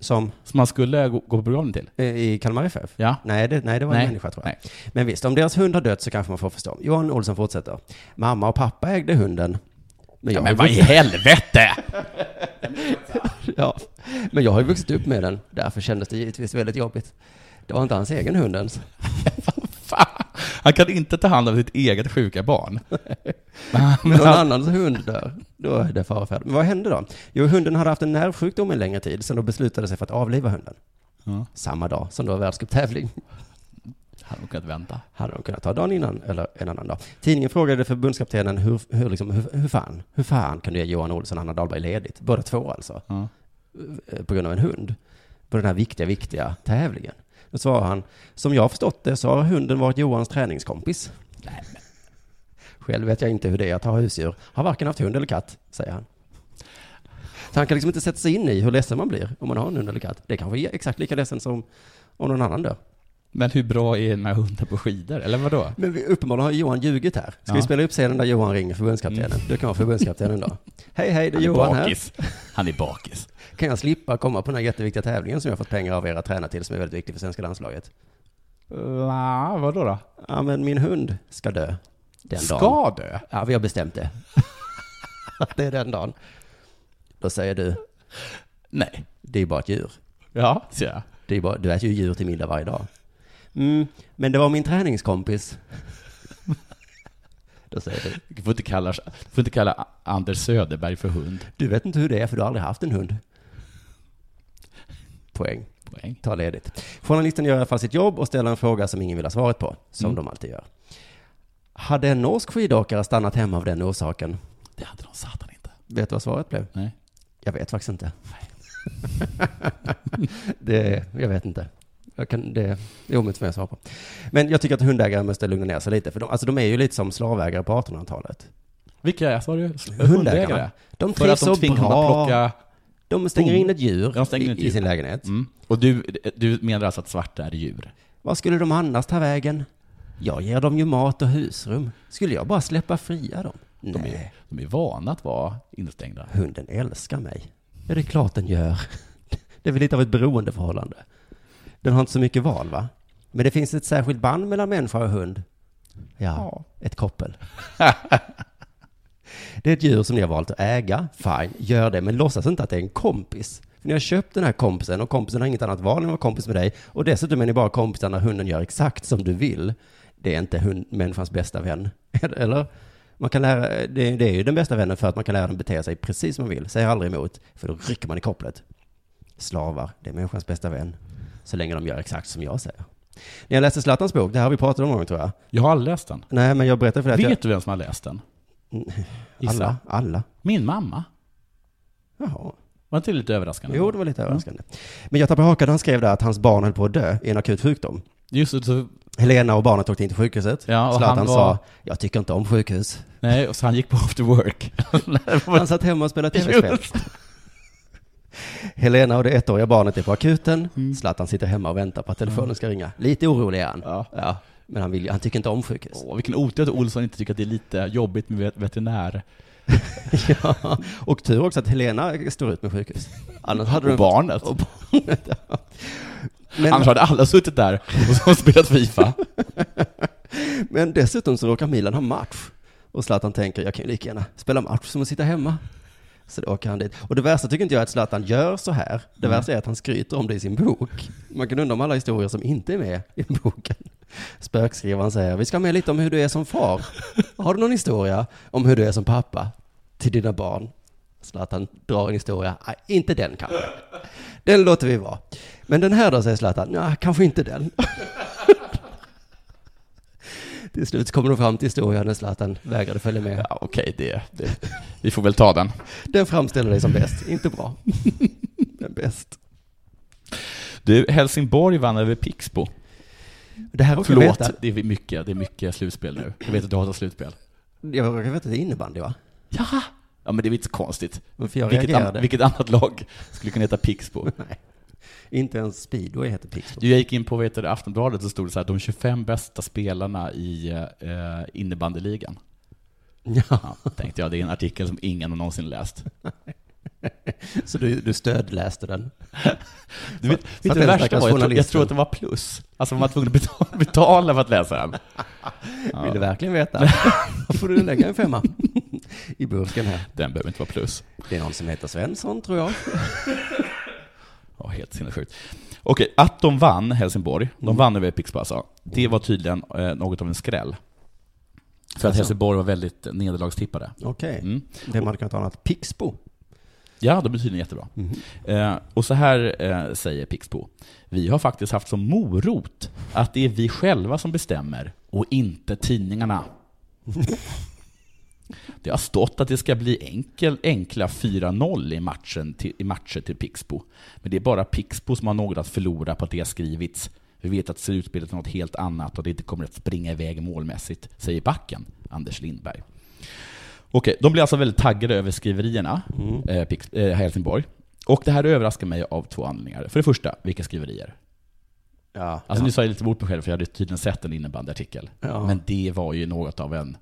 J: Som?
C: Som man skulle gå, gå på begravning till?
J: eh, I Kalmar FF?
C: Ja.
J: Nej, det, nej, det var
C: Nej.
J: en människa tror jag. Men visst, om deras hund har dött så kanske man får förstå. Johan Olsson fortsätter. Mamma och pappa ägde hunden. Men,
C: Ja,
J: jag
C: men
J: har
C: vad
J: ju
C: i
J: vuxit-
C: helvete!
J: <laughs> ja, men jag har ju vuxit upp med den.
C: <laughs>
J: Därför kändes det givetvis väldigt jobbigt. Det var inte hans egen hund ens.
C: Han kan inte ta hand om sitt eget sjuka barn.
J: Men <laughs> någon annans hund dör, då är det fara färd. Men vad hände då? Jo, hunden hade haft en nervsjukdom en längre tid, så då beslutade sig för att avliva hunden.
C: Ja.
J: Samma dag som det var världscuptävling.
C: Hade de kunnat vänta?
J: Hade de kunnat ta dagen innan eller en annan dag. Tidningen frågade förbundskaptenen hur, hur, liksom, hur, hur, fan, hur fan kan du ge Johan Olsson och Anna Dahlberg ledigt? Båda två alltså.
C: Ja.
J: Eh, På grund av en hund. På den här viktiga, viktiga tävlingen. Då svarade han, som jag har förstått det så har hunden varit Johans träningskompis. Själv vet jag inte hur det är att ha husdjur. Har varken haft hund eller katt, säger han. Så han kan liksom inte sätta sig in i hur ledsen man blir om man har en hund eller katt. Det kanske är exakt lika ledsen som om någon annan dör.
C: Men hur bra är den här hunden på skidor, eller vadå?
J: Men vi, uppenbarligen har Johan ljugit här. Ska
C: Ja.
J: vi spela upp scenen där Johan ringer förbundskaptenen?
C: Mm.
J: Det kan vara förbundskaptenen <laughs> då. Hej, hej, det är
C: Han är
J: Johan
C: bakis.
J: här.
C: Han är bakis.
J: Kan jag slippa komma på den här jätteviktiga tävlingen som jag fått pengar av er att träna till, som är väldigt viktig för svenska landslaget?
C: Va, vadå då?
J: Ja, men min hund ska dö. Den
C: Ska
J: dagen.
C: dö?
J: Ja, vi har bestämt det. Att <laughs> det är den dagen. Då säger du?
C: Nej.
J: Det är bara ett djur.
C: Ja, ser jag.
J: Det är bara, du äter ju djur till middag varje dag. Mm, men det var
C: <laughs>
J: min träningskompis. Då säger du?
C: Du får inte kalla, du får inte kalla Anders Söderberg för hund.
J: Du vet inte hur det är för du har aldrig haft en hund. Poäng.
C: Poäng.
J: Ta ledigt. Journalisten gör i alla fall sitt jobb och ställer en fråga som ingen vill ha svaret på, som
C: Mm.
J: de alltid gör. Hade en norsk skidåkare stannat hemma av den orsaken?
C: Det hade de satan inte.
J: Vet du vad svaret blev?
C: Nej.
J: Jag vet faktiskt inte.
C: <laughs>
J: <laughs> det, jag vet inte. Jag kan, det är omöjligt för mig att svara på. Men jag tycker att hundägare måste lugna ner sig lite, för de, alltså de är ju lite som slavägare på 1800-talet.
C: Vilka är, sa du? Hundägare?
J: Hundägarna, de
C: För att
J: trivs
C: de
J: så
C: tvingar dem
J: bra.
C: att plocka...
J: De stänger in ett djur
C: De stänger
J: i-
C: in ett
J: i
C: djur.
J: sin lägenhet.
C: Mm. Och du, du menar alltså att svarta är djur?
J: Vad skulle de annars ta vägen? Jag ger dem ju mat och husrum. Skulle jag bara släppa fria dem?
C: De är,
J: Nej,
C: de är vana att vara instängda.
J: hunden älskar mig. Ja, det är klart den gör. Det är väl lite av ett beroendeförhållande. Den har inte så mycket val, va? Men det finns ett särskilt band mellan människa och hund. Ja, ett koppel. Det är ett djur som ni har valt att äga. Fine, gör det. Men låtsas inte att det är en kompis. För ni har köpt den här kompisen och kompisen har inget annat val än att vara kompis med dig. Och dessutom är ni bara kompisar när hunden gör exakt som du vill. Det är inte hund, människans bästa vän. <laughs> Eller? Man kan lära, det, det är ju den bästa vännen för att man kan lära den bete sig precis som man vill. Säger aldrig emot, för då rycker man i kopplet. Slavar, det är människans bästa vän. Så länge de gör exakt som jag säger. När jag läste Zlatans bok, det här har vi pratat om någon gång tror jag.
C: Jag har aldrig läst den.
J: Nej, men jag berättade för dig att
C: Vet
J: jag...
C: du vem som har läst den? Gissa.
J: Alla, alla.
C: Min mamma.
J: Jaha.
C: Var inte det lite överraskande? Mm.
J: Jo, det var lite överraskande. Men jag tappade hakan, han skrev där att hans barn höll på att dö i en akut sjukdom.
C: Just det, så,
J: Helena och barnet åkte in till sjukhuset.
C: Ja, och
J: Zlatan
C: han var-
J: sa, jag tycker inte om sjukhus.
C: nej, och så han gick på after work.
J: <laughs> Han satt hemma och spelade tv-spel. Helena och det ettåriga barnet är på akuten.
C: Mm.
J: Zlatan sitter hemma och väntar på att telefonen ska ringa. Lite orolig är han.
C: Ja.
J: Ja. Men han, vill, ju- han tycker inte om sjukhus.
C: Åh, vilken otur att Olsson inte tycker att det är lite jobbigt med vet- veterinär.
J: Ja. Och tur också att Helena står ut med sjukhus. Annars hade
C: Och
J: du...
C: barnet.
J: barnet. ja. Men-
C: Annars hade alla suttit där och så spelat Fifa.
J: Men dessutom så råkar Milan ha match. Och Zlatan tänker, jag kan ju lika gärna spela match som att sitta hemma. Så då åker han dit. Och det värsta tycker inte jag är att Zlatan gör så här. Det
C: Mm.
J: värsta är att han skryter om det i sin bok. Man kan undra om alla historier som inte är med i boken. Spökskrivaren säger, vi ska ha med lite om hur du är som far. Har du någon historia om hur du är som pappa till dina barn? Zlatan drar en historia, nej, inte den kanske. Den låter vi vara. Men den här då, säger Zlatan, nej, kanske inte den. <laughs> Till slut kommer de fram till historien när Zlatan vägrade följa med.
C: Ja, Okej, det, det, vi får väl ta den.
J: Den framställer dig som bäst, inte bra. <laughs> Men bäst.
C: Du, Helsingborg vann över Pixbo.
J: Det här råkar jag
C: Förlåt,
J: veta.
C: det är mycket, det är mycket slutspel nu. Jag vet att du hatar slutspel.
J: Jag råkar veta att det är innebandy va?
C: Ja, ja men det är väl inte så konstigt.
J: För jag
C: vilket,
J: reagerade.
C: an, vilket annat lag skulle kunna heta Pixbo?
J: <laughs> Nej. Inte ens speedway heter Pixbo.
C: Du, Jag gick in på vet du, Aftonbladet så stod det så här, de 25 bästa spelarna i eh, innebandyligan.
J: Ja.
C: Ja, tänkte jag, det är en artikel som ingen har någonsin läst.
J: <laughs> Så du, du stödläste den?
C: <laughs> Du vet,
J: Så-
C: vet
J: så att
C: du
J: den
C: det värsta
J: stackars
C: var? Jag, tror- jag
J: journalisten-
C: tror att den var plus. Alltså man var tvungen att betala, <laughs> betala för att läsa den. Ja.
J: Vill du verkligen veta?
C: <laughs>
J: Då får du lägga en femma i burken här.
C: Den behöver inte vara plus.
J: Det är någon som heter Svensson tror jag.
C: Ja, helt sinnessjukt. Okej, att de vann Helsingborg, de Mm. vann över Pixpassa, det var tydligen eh, något av en skräll. För att
J: Alltså.
C: Helsingborg var väldigt nederlagstippade.
J: Okej.
C: Mm.
J: Det man kan ta annat. Pixbo. Mhm.
C: Ja, de är tydligen jättebra. Eh, och så här eh, säger Pixbo. Vi har faktiskt haft som morot att det är vi själva som bestämmer och inte tidningarna. Det har stått att det ska bli enkel, enkla 4-0 i, matchen till, i matcher till Pixbo. Men det är bara Pixbo som har något att förlora på att det har skrivits. Vi vet att slutspelet är något helt annat och det inte kommer att springa iväg målmässigt, säger backen Anders Lindberg. Okej, de blir alltså väldigt taggade över skriverierna,
J: Mm.
C: eh, Pix, eh, Helsingborg. Och det här överraskar mig av två anledningar. För det första, vilka skriverier?
J: Ja.
C: Alltså nu sa jag lite emot mig själv för jag hade tydligen sett en innebandyartikel.
J: Ja.
C: Men det var ju något av en...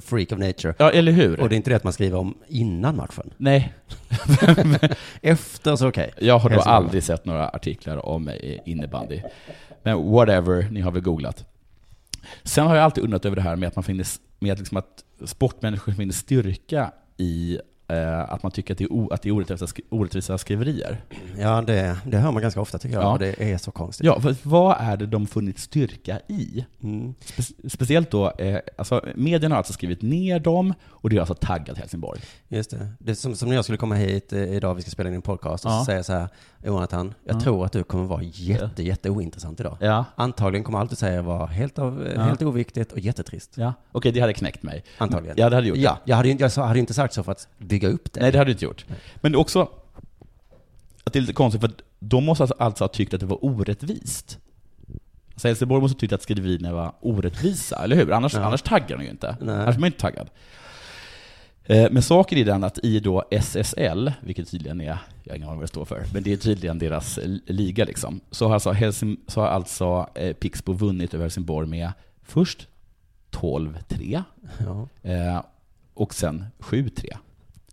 J: Freak of nature.
C: Ja, eller hur?
J: Och det är inte det att man skriver om innan matchen.
C: Nej.
J: <laughs> Efter så okej.
C: Jag har då
J: Hälsningar.
C: aldrig sett några artiklar om eh, innebandy. Men whatever, ni har väl googlat. Sen har jag alltid undrat över det här med att, man finner, med att, liksom att sportmänniskor finner styrka i eh, att man tycker att det är, o, att det är orättvisa, skri- orättvisa skriverier.
J: Ja, det, det hör man ganska ofta tycker jag.
C: Ja.
J: Och det är så konstigt.
C: Ja, för vad är det de funnit styrka i?
J: Mm.
C: Spe- speciellt då, eh, alltså, medierna har alltså skrivit ner dem och det har alltså taggat Helsingborg.
J: Just det. det är som, som när jag skulle komma hit eh, idag, vi ska spela in en podcast, och
C: Ja.
J: så säger jag så här, Jonathan, jag
C: Ja.
J: tror att du kommer vara jätte, jätte ointressant idag.
C: Ja.
J: Antagligen kommer allt du säger vara helt, av, eh,
C: Ja.
J: helt oviktigt och jättetrist.
C: Ja. Okej, det hade knäckt mig.
J: Antagligen.
C: Ja, det hade gjort
J: Ja, jag hade, ju- jag sa- hade ju inte sagt så för att bygga upp det.
C: Nej, det hade du inte gjort. Men det är också att det är lite konstigt, för att de måste alltså- alltså ha tyckt att det var orättvist. Alltså Helsingborg måste ha tyckt att skriverierna var orättvisa, eller hur? Annars,
J: Ja.
C: annars taggar de ju inte.
J: Nej.
C: Annars är man inte taggad. Eh, Men saken är den att i då SSL, vilket tydligen är, jag har ingen aning vad det står för, men det är tydligen deras eh, liga liksom, så har alltså, Helsing, så har alltså eh, Pixbo vunnit över Helsingborg med först 12-3
J: Ja.
C: eh, och sen 7-3.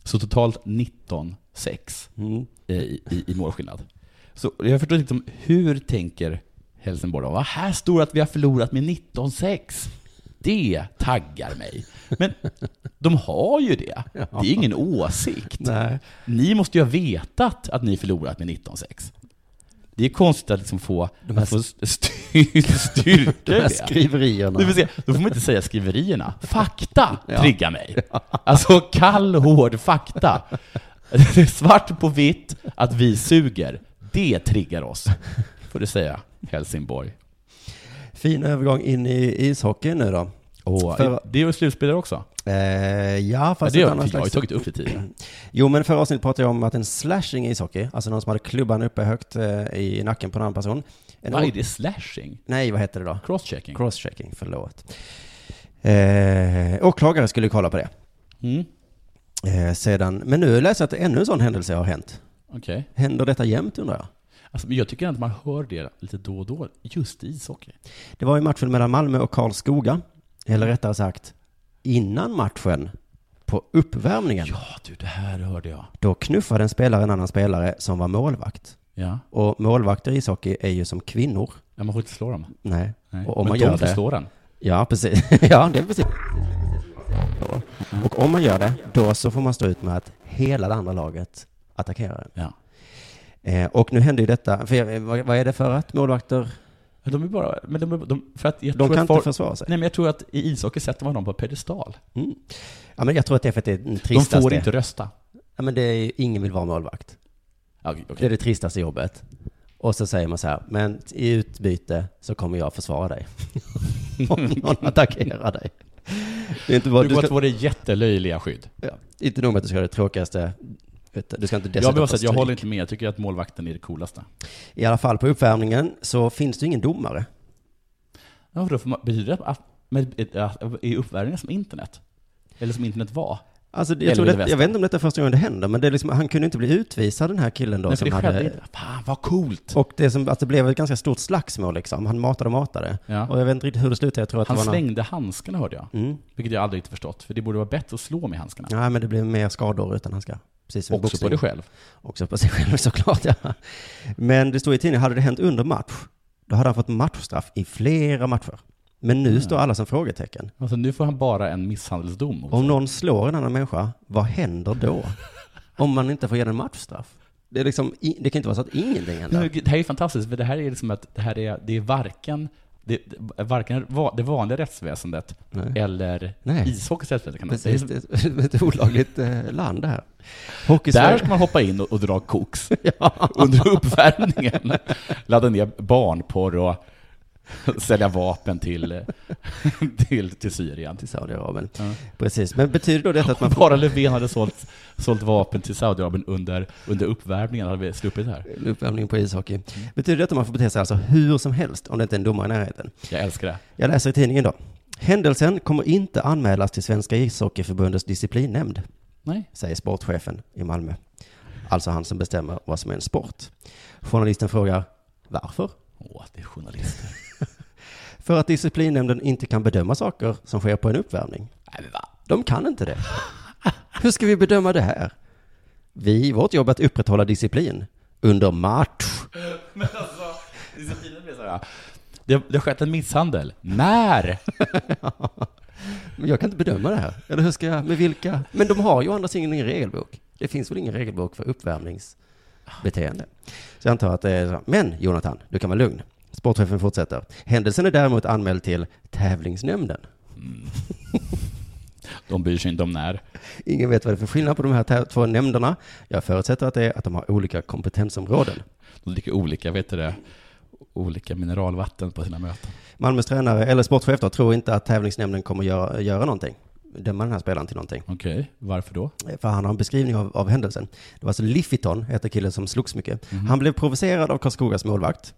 C: Så totalt 19-6 eh, i, i, i målskillnad. Så jag förstår liksom, hur tänker Helsingborg? Vad här står det att vi har förlorat med 19-6. Det taggar mig. Men de har ju det. Det är ingen åsikt.
J: Nej.
C: Ni måste ju ha vetat att ni förlorat med 19-6. Det är konstigt att liksom få,
J: De här-
C: att få styr, styrka
J: De här
C: i det.
J: skriverierna.
C: Det vill säga, då får man inte säga skriverierna. Fakta
J: <laughs> Ja.
C: triggar mig. Alltså kall, hård fakta. Det är Svart på vitt att vi suger. Det triggar oss. Får du säga Helsingborg.
J: Fin övergång in i ishockeyn nu då.
C: Och
J: För-
C: det är ju slutspelare också.
J: Eh, ja,
C: Ja,
J: fast
C: det
J: ett
C: har
J: annat
C: jag har ju
J: slags-
C: tagit upp det tidigare.
J: <clears throat> Jo, men förra avsnittet pratade jag om att en slashing i ishockey, alltså någon som hade klubban uppe högt eh, i nacken på en annan person. En
C: Vad
J: or-
C: är det? Slashing?
J: Nej, vad heter det då?
C: Crosschecking?
J: Crosschecking, förlåt. Eh, åklagare skulle kolla på det.
C: Mm.
J: Eh, sedan, men nu läser jag att ännu en sån händelse har hänt.
C: Okej.
J: Händer detta jämt undrar jag?
C: Alltså, men jag tycker att man hör det lite då och då, just i ishockey.
J: Det var ju matchen mellan Malmö och Karlskoga. Eller rättare sagt, innan matchen, på uppvärmningen,
C: Ja du, det här hörde jag.
J: då knuffade en spelare en annan spelare som var målvakt.
C: Ja.
J: Och målvakter i ishockey är ju som kvinnor.
C: ja man får inte slå dem.
J: Nej.
C: Nej.
J: Och om
C: Men
J: man
C: de
J: gör
C: får
J: det...
C: slå den.
J: Ja, precis. <laughs> ja, det är precis. Och om man gör det, då så får man stå ut med att hela det andra laget attackerar
C: en.
J: Eh, och nu hände ju detta, för jag, vad, vad är det för att målvakter...
C: Men de är bara... Men de, är- de, för att jag
J: De
C: tror
J: kan
C: att
J: inte försvara sig. Mm.
C: Nej, men jag tror att i ishockey sätter man dem på pedestal.
J: Ja, men jag tror att det är för att det är den
C: De
J: tristaste...
C: får inte rösta.
J: Ja, men det är ju, ingen vill vara målvakt.
C: Ja, okej, okej.
J: Det är det tristaste jobbet. Och så säger man så här, men i utbyte så kommer jag försvara dig. <laughs> Om
C: <laughs>
J: någon attackerar dig. Det är inte bara,
C: Du
J: du
C: går att
J: ska,
C: få det jättelöjliga skydd.
J: ja, inte nog med att du ska göra det tråkigaste, utan du ska inte
C: Jag, jag,
J: dessutom
C: behöver
J: få
C: säga att jag
J: stryk.
C: håller inte med. Jag tycker att målvakten är det coolaste.
J: I alla fall på uppvärmningen så finns det ju ingen domare.
C: Ja, för då får man, betyder det att, med, att är uppvärmningen som internet? Eller som internet var?
J: Alltså, det-
C: Eller
J: jag, tror
C: Vilde
J: det, jag
C: Western?
J: vet inte om detta är första gången det händer, men det är liksom, han kunde inte bli utvisad den här killen då.
C: Nej, för
J: som
C: det
J: hade,
C: skedde inte. Fan, vad coolt!
J: Och det, som, att det blev ett ganska stort slagsmål liksom. Han matade och matade.
C: Ja.
J: Och jag vet inte riktigt hur det slutade. Jag tror att
C: Han
J: det var någon-
C: slängde handskarna hörde jag.
J: Mm.
C: Vilket jag aldrig riktigt förstått. För det borde vara bättre att slå med handskarna.
J: Nej, men det blev mer skador utan handskar. Precis som i
C: Också på
J: boxning.
C: dig själv.
J: Också på sig själv <laughs> såklart, ja. Men det står i tidningen, hade det hänt under match, då hade han fått matchstraff i flera matcher. Men nu står alla som frågetecken.
C: Alltså nu får han bara en misshandelsdom.
J: <laughs> Om någon slår en annan människa, vad händer då? Om man inte får ge den matchstraff?
B: Det, är liksom, i- det kan inte vara så att ingenting händer.
J: Det här är ju fantastiskt, för det här är liksom att det här är, det är varken det, det- varken va- det vanliga rättsväsendet eller
B: Nej.
J: ishockeyns rättsväsende. Kan man säga.
B: Precis, det är ett olagligt eh, land det här.
J: Där ska man hoppa in och, och
B: <laughs>
J: dra koks under uppvärmningen. Ladda ner barnporr och sälja vapen till, eh, till, till
B: <laughs>
J: Syrien.
B: Till Saudiarabien. Precis, men betyder då detta att man...
J: Bara Löfven hade sålt, sålt vapen till Saudiarabien under, under uppvärmningen hade vi sluppit det här. Mm.
B: Uppvärmning på ishockey. Betyder detta att man får bete sig alltså hur som helst om det inte är en domare i närheten?
J: Jag älskar det.
B: Jag läser i tidningen då. Händelsen kommer inte anmälas till Svenska ishockeyförbundets disciplinnämnd.
J: Nej.
B: Säger sportchefen i Malmö. Alltså han som bestämmer vad som är en sport. Journalisten frågar varför?
J: Åh, det är journalister.
B: För att disciplinnämnden inte kan bedöma saker som sker på en uppvärmning. De kan inte det. Hur ska vi bedöma det här? Vi, vårt jobb är att upprätthålla disciplin under match.
J: Men alltså, disciplinen blir så här. Det, det har skett en misshandel. När?
B: <laughs> Men jag kan inte bedöma det här. Eller hur ska jag, med vilka? Men de har ju å andra sidan ingen regelbok. Det finns väl ingen regelbok för uppvärmningsbeteende. Så jag antar att det är så. Men Jonathan, du kan vara lugn. Sportchefen fortsätter. Händelsen är däremot anmäld till tävlingsnämnden.
J: De bryr sig inte om när.
B: Ingen vet vad det är för skillnad på de här tä- två nämnderna. Jag förutsätter att det är att de har olika kompetensområden.
J: De dricker olika, vet du det, olika mineralvatten på sina möten.
B: Malmös tränare, eller sportchef då, tror inte att tävlingsnämnden kommer göra, göra någonting. Döma den här spelaren till någonting.
J: Okej, varför då?
B: För han har en beskrivning av, av händelsen. Det var alltså Liffiton, heter killen som slogs mycket.
J: Mhm.
B: Han blev provocerad av Karlskogas målvakt.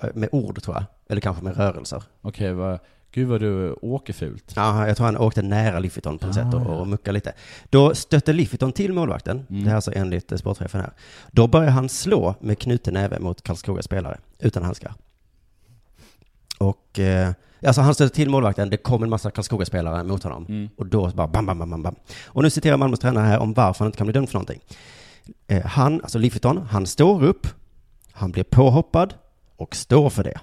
B: Eh, Med ord tror jag, eller kanske med rörelser.
J: Okej, vad, gud vad du åker fult.
B: Ja, jag tror han åkte nära Liffiton på något
J: Ah,
B: sätt och,
J: ja. Mm.
B: och muckade lite. Då stötte Liffiton till målvakten, det här är alltså enligt eh, sportchefen här. Då började han slå med knuten näve mot Karlskogas spelare, utan handskar. Och, eh, alltså han stötte till målvakten, det kom en massa Karlskoga-spelare mot honom. Och då bara bam, bam, bam, bam, bam. Och nu citerar Malmös tränare här om varför han inte kan bli dömd för någonting. Eh, han, alltså Liffiton, han står upp, han blir påhoppad och står för det.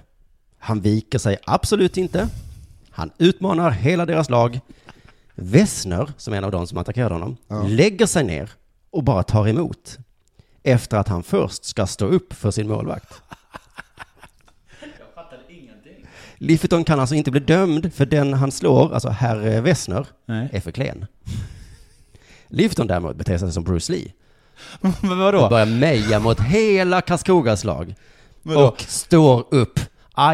B: Han viker sig absolut inte. Han utmanar hela deras lag. Wessner, som är en av de som attackerade honom, lägger sig ner och bara tar emot. Efter att han först ska stå upp för sin målvakt.
J: Jag fattar ingenting.
B: Lifferton kan alltså inte bli dömd för den han slår, alltså herr Wessner,
J: Nej.
B: är för E klen. Lifferton däremot beter sig som Bruce Lee.
J: <laughs> Men
B: Och
J: vadå?
B: börjar meja mot hela Karlskogas lag.
J: Vadå?
B: Och står upp.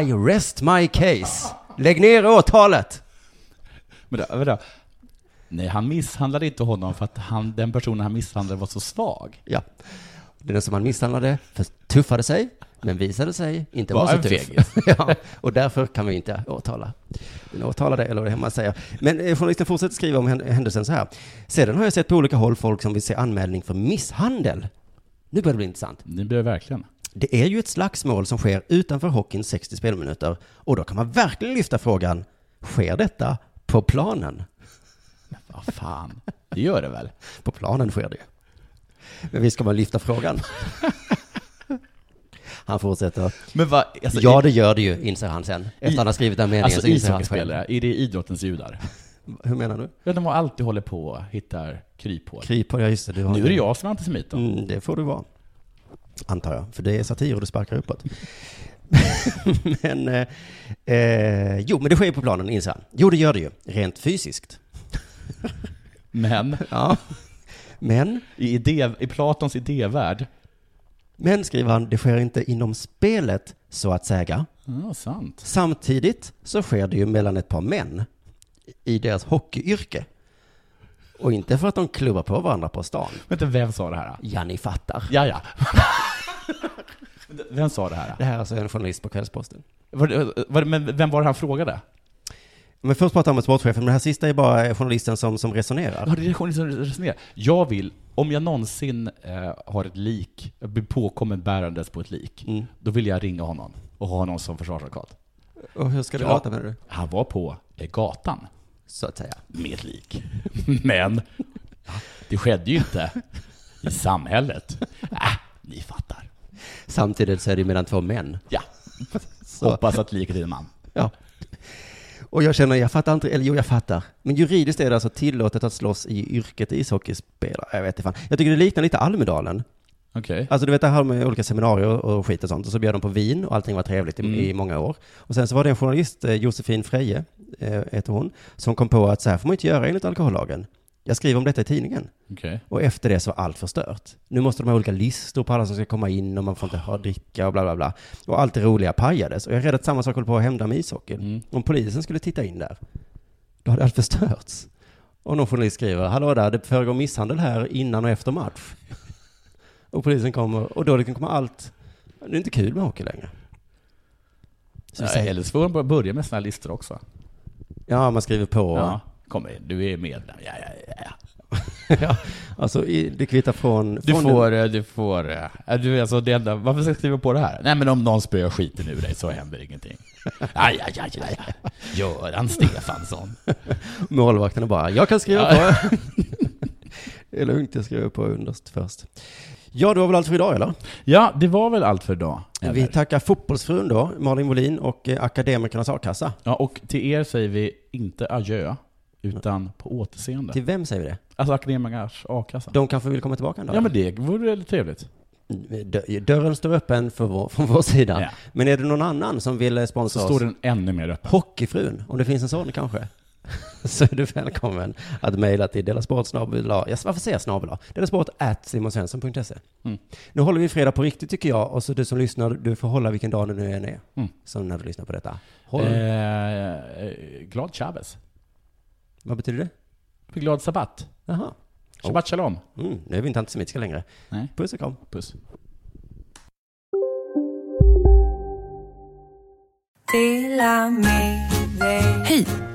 B: I rest my case. Lägg ner åtalet.
J: Men då, vadå? Nej, han misshandlade inte honom för att han, den personen han misshandlade var så svag.
B: Ja. Den som han misshandlade förtuffade sig, men visade sig inte
J: Var
B: vara så typ.
J: en
B: tuff.
J: fegis.
B: ja, och därför kan vi inte åtala. Den åtalade, eller vad man säger. Men eh, journalisten fortsätter skriva om hän- händelsen så här. Sedan har jag sett på olika håll folk som vill se anmälning för misshandel. Nu börjar det bli intressant.
J: Det blev verkligen.
B: Det är ju ett slagsmål som sker utanför hockeyns 60 spelminuter och då kan man verkligen lyfta frågan, sker detta på planen?
J: Vad fan, det gör det väl?
B: På planen sker det ju. Men visst ska man lyfta <laughs> frågan? Han fortsätter.
J: Men vad, alltså,
B: ja, det gör det ju, inser han sen. Efter
J: I-
B: han har skrivit den meningen
J: Alltså
B: så inser han själv.
J: ishockeyspelare, är det idrottens judar?
B: Hur menar du?
J: Ja, de har alltid håller på och hittar kryphål.
B: Kryphål, ja just det. Du har
J: Nu är det jag som är antisemit då.
B: Mm, det får du vara. Antar jag, för det är satir och du sparkar uppåt. <laughs> men, eh, eh, jo, men det sker ju på planen, inser han. Jo, det gör det ju, rent fysiskt.
J: Men
B: Ja. Men,
J: i, idé, i Platons idévärld,
B: men skriver han, det sker inte inom spelet, så att säga.
J: ja sant.
B: Samtidigt så sker det ju mellan ett par män i deras hockeyyrke. Och inte för att de klubbar på varandra på stan.
J: Vänta, vem sa det här?
B: Ja, ni fattar. <laughs>
J: Ja, ja. Vem sa det här?
B: Det här är alltså en journalist på Kvällsposten.
J: Var, det- var, det- men vem var det han frågade?
B: Men först pratar han med sportchefen, men det här sista är bara journalisten som, som
J: Ja,
B: resonerar.
J: det är journalisten som resonerar. Jag vill, om jag någonsin eh, har ett lik, jag blir påkommen bärandes på ett lik,
B: Mm.
J: då vill jag ringa honom och ha honom som försvarsadvokat.
B: Och hur ska det
J: Ja.
B: låta menar du?
J: Han var på eh, gatan
B: Så att säga.
J: med ett lik. <laughs> Men det skedde ju inte i samhället. Äh, ni fattar.
B: Samtidigt så är det ju mellan två män.
J: Ja.
B: Så.
J: Hoppas att liket är en man.
B: Ja. Och jag känner, jag fattar inte, eller jo jag fattar. Men juridiskt är det alltså tillåtet att slåss i yrket ishockeyspelare. Jag vet inte fan. Jag tycker det liknar lite Almedalen.
J: Okej.
B: Alltså du vet, där hade man ju olika seminarier och skit och sånt. Och så bjöd de på vin och allting var trevligt i,
J: Mm.
B: i många år. Och sen så var det en journalist, eh, Josefin Freje, eh, heter hon, som kom på att så här får man inte göra enligt alkohollagen. Jag skriver om detta i tidningen.
J: Okej.
B: Och efter det så var allt förstört. Nu måste de ha olika listor på alla som ska komma in och man får inte ha dricka och bla bla bla. Och allt det roliga pajades. Och jag är rädd att samma sak håller på att hända med ishockeyn. Om polisen skulle titta in där, då hade allt förstörts. Och någon journalist skriver, hallå där, det föregår misshandel här innan och efter match. och polisen kommer, och då liksom kommer allt, det är inte kul med hockey längre. Så vi
J: Nej,
B: säger-
J: Eller så får de bara börja med såna här listor också.
B: Ja, man skriver på.
J: Ja. Kom in, du är medlem. Ja, ja, ja, ja.
B: <laughs> ja. Alltså, i- det kvittar från...
J: Du
B: från
J: får, eh, du får, eh, är du alltså det enda, varför ska jag skriva på det här? Nej men om någon spöar skiten ur dig så händer ingenting. Aj, aj, aj, aj, aj. Göran Stefansson.
B: <laughs> Målvakterna bara, jag kan skriva
J: Ja.
B: på. <laughs> det är lugnt, jag skriver på underst först. Ja, det var väl allt för idag eller?
J: Ja, det var väl allt för idag.
B: Vi tackar fotbollsfrun då, Malin Molin och eh, Akademikernas A-kassa.
J: Ja, och till er säger vi inte adjö, utan på återseende.
B: Till vem säger vi det?
J: Alltså Akademikers a-kassa.
B: De kanske vill komma tillbaka en dag?
J: Ja men det vore väldigt trevligt.
B: Dö- Dörren står öppen för vår, från vår sida.
J: Ja.
B: Men är det någon annan som vill eh,
J: Så
B: sponsra oss?
J: står den ännu mer öppen.
B: Hockeyfrun, om det finns en sån kanske. <laughs> Så är du välkommen att mejla till delasport snabel A. Jag- Varför säger jag snabel A? Delasport at simonsvensson.se.
J: Mm.
B: Nu håller vi fredag på riktigt tycker jag. Och så du som lyssnar, du får hålla vilken dag det nu än är.
J: Mm.
B: Som när du lyssnar på detta. Håll.
J: Eh, eh, glad Chavez.
B: Vad betyder det?
J: Glad sabbat.
B: Jaha.
J: Shabbat shalom.
B: Oh. Mm, nu är vi inte antisemitiska längre.
J: Nej.
B: Puss och kram.
J: Puss.
D: Hej!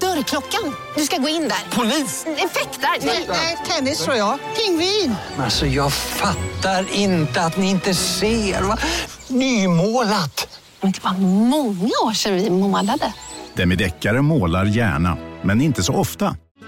P: Dörrklockan. Du ska gå in där. Polis? Effektar? Nej, nej, tennis tror jag. Pingvin.
Q: Alltså jag fattar inte att ni inte ser. Va? Nymålat!
P: Men det var många år sedan vi målade.
E: Demideckare målar gärna, men inte så ofta.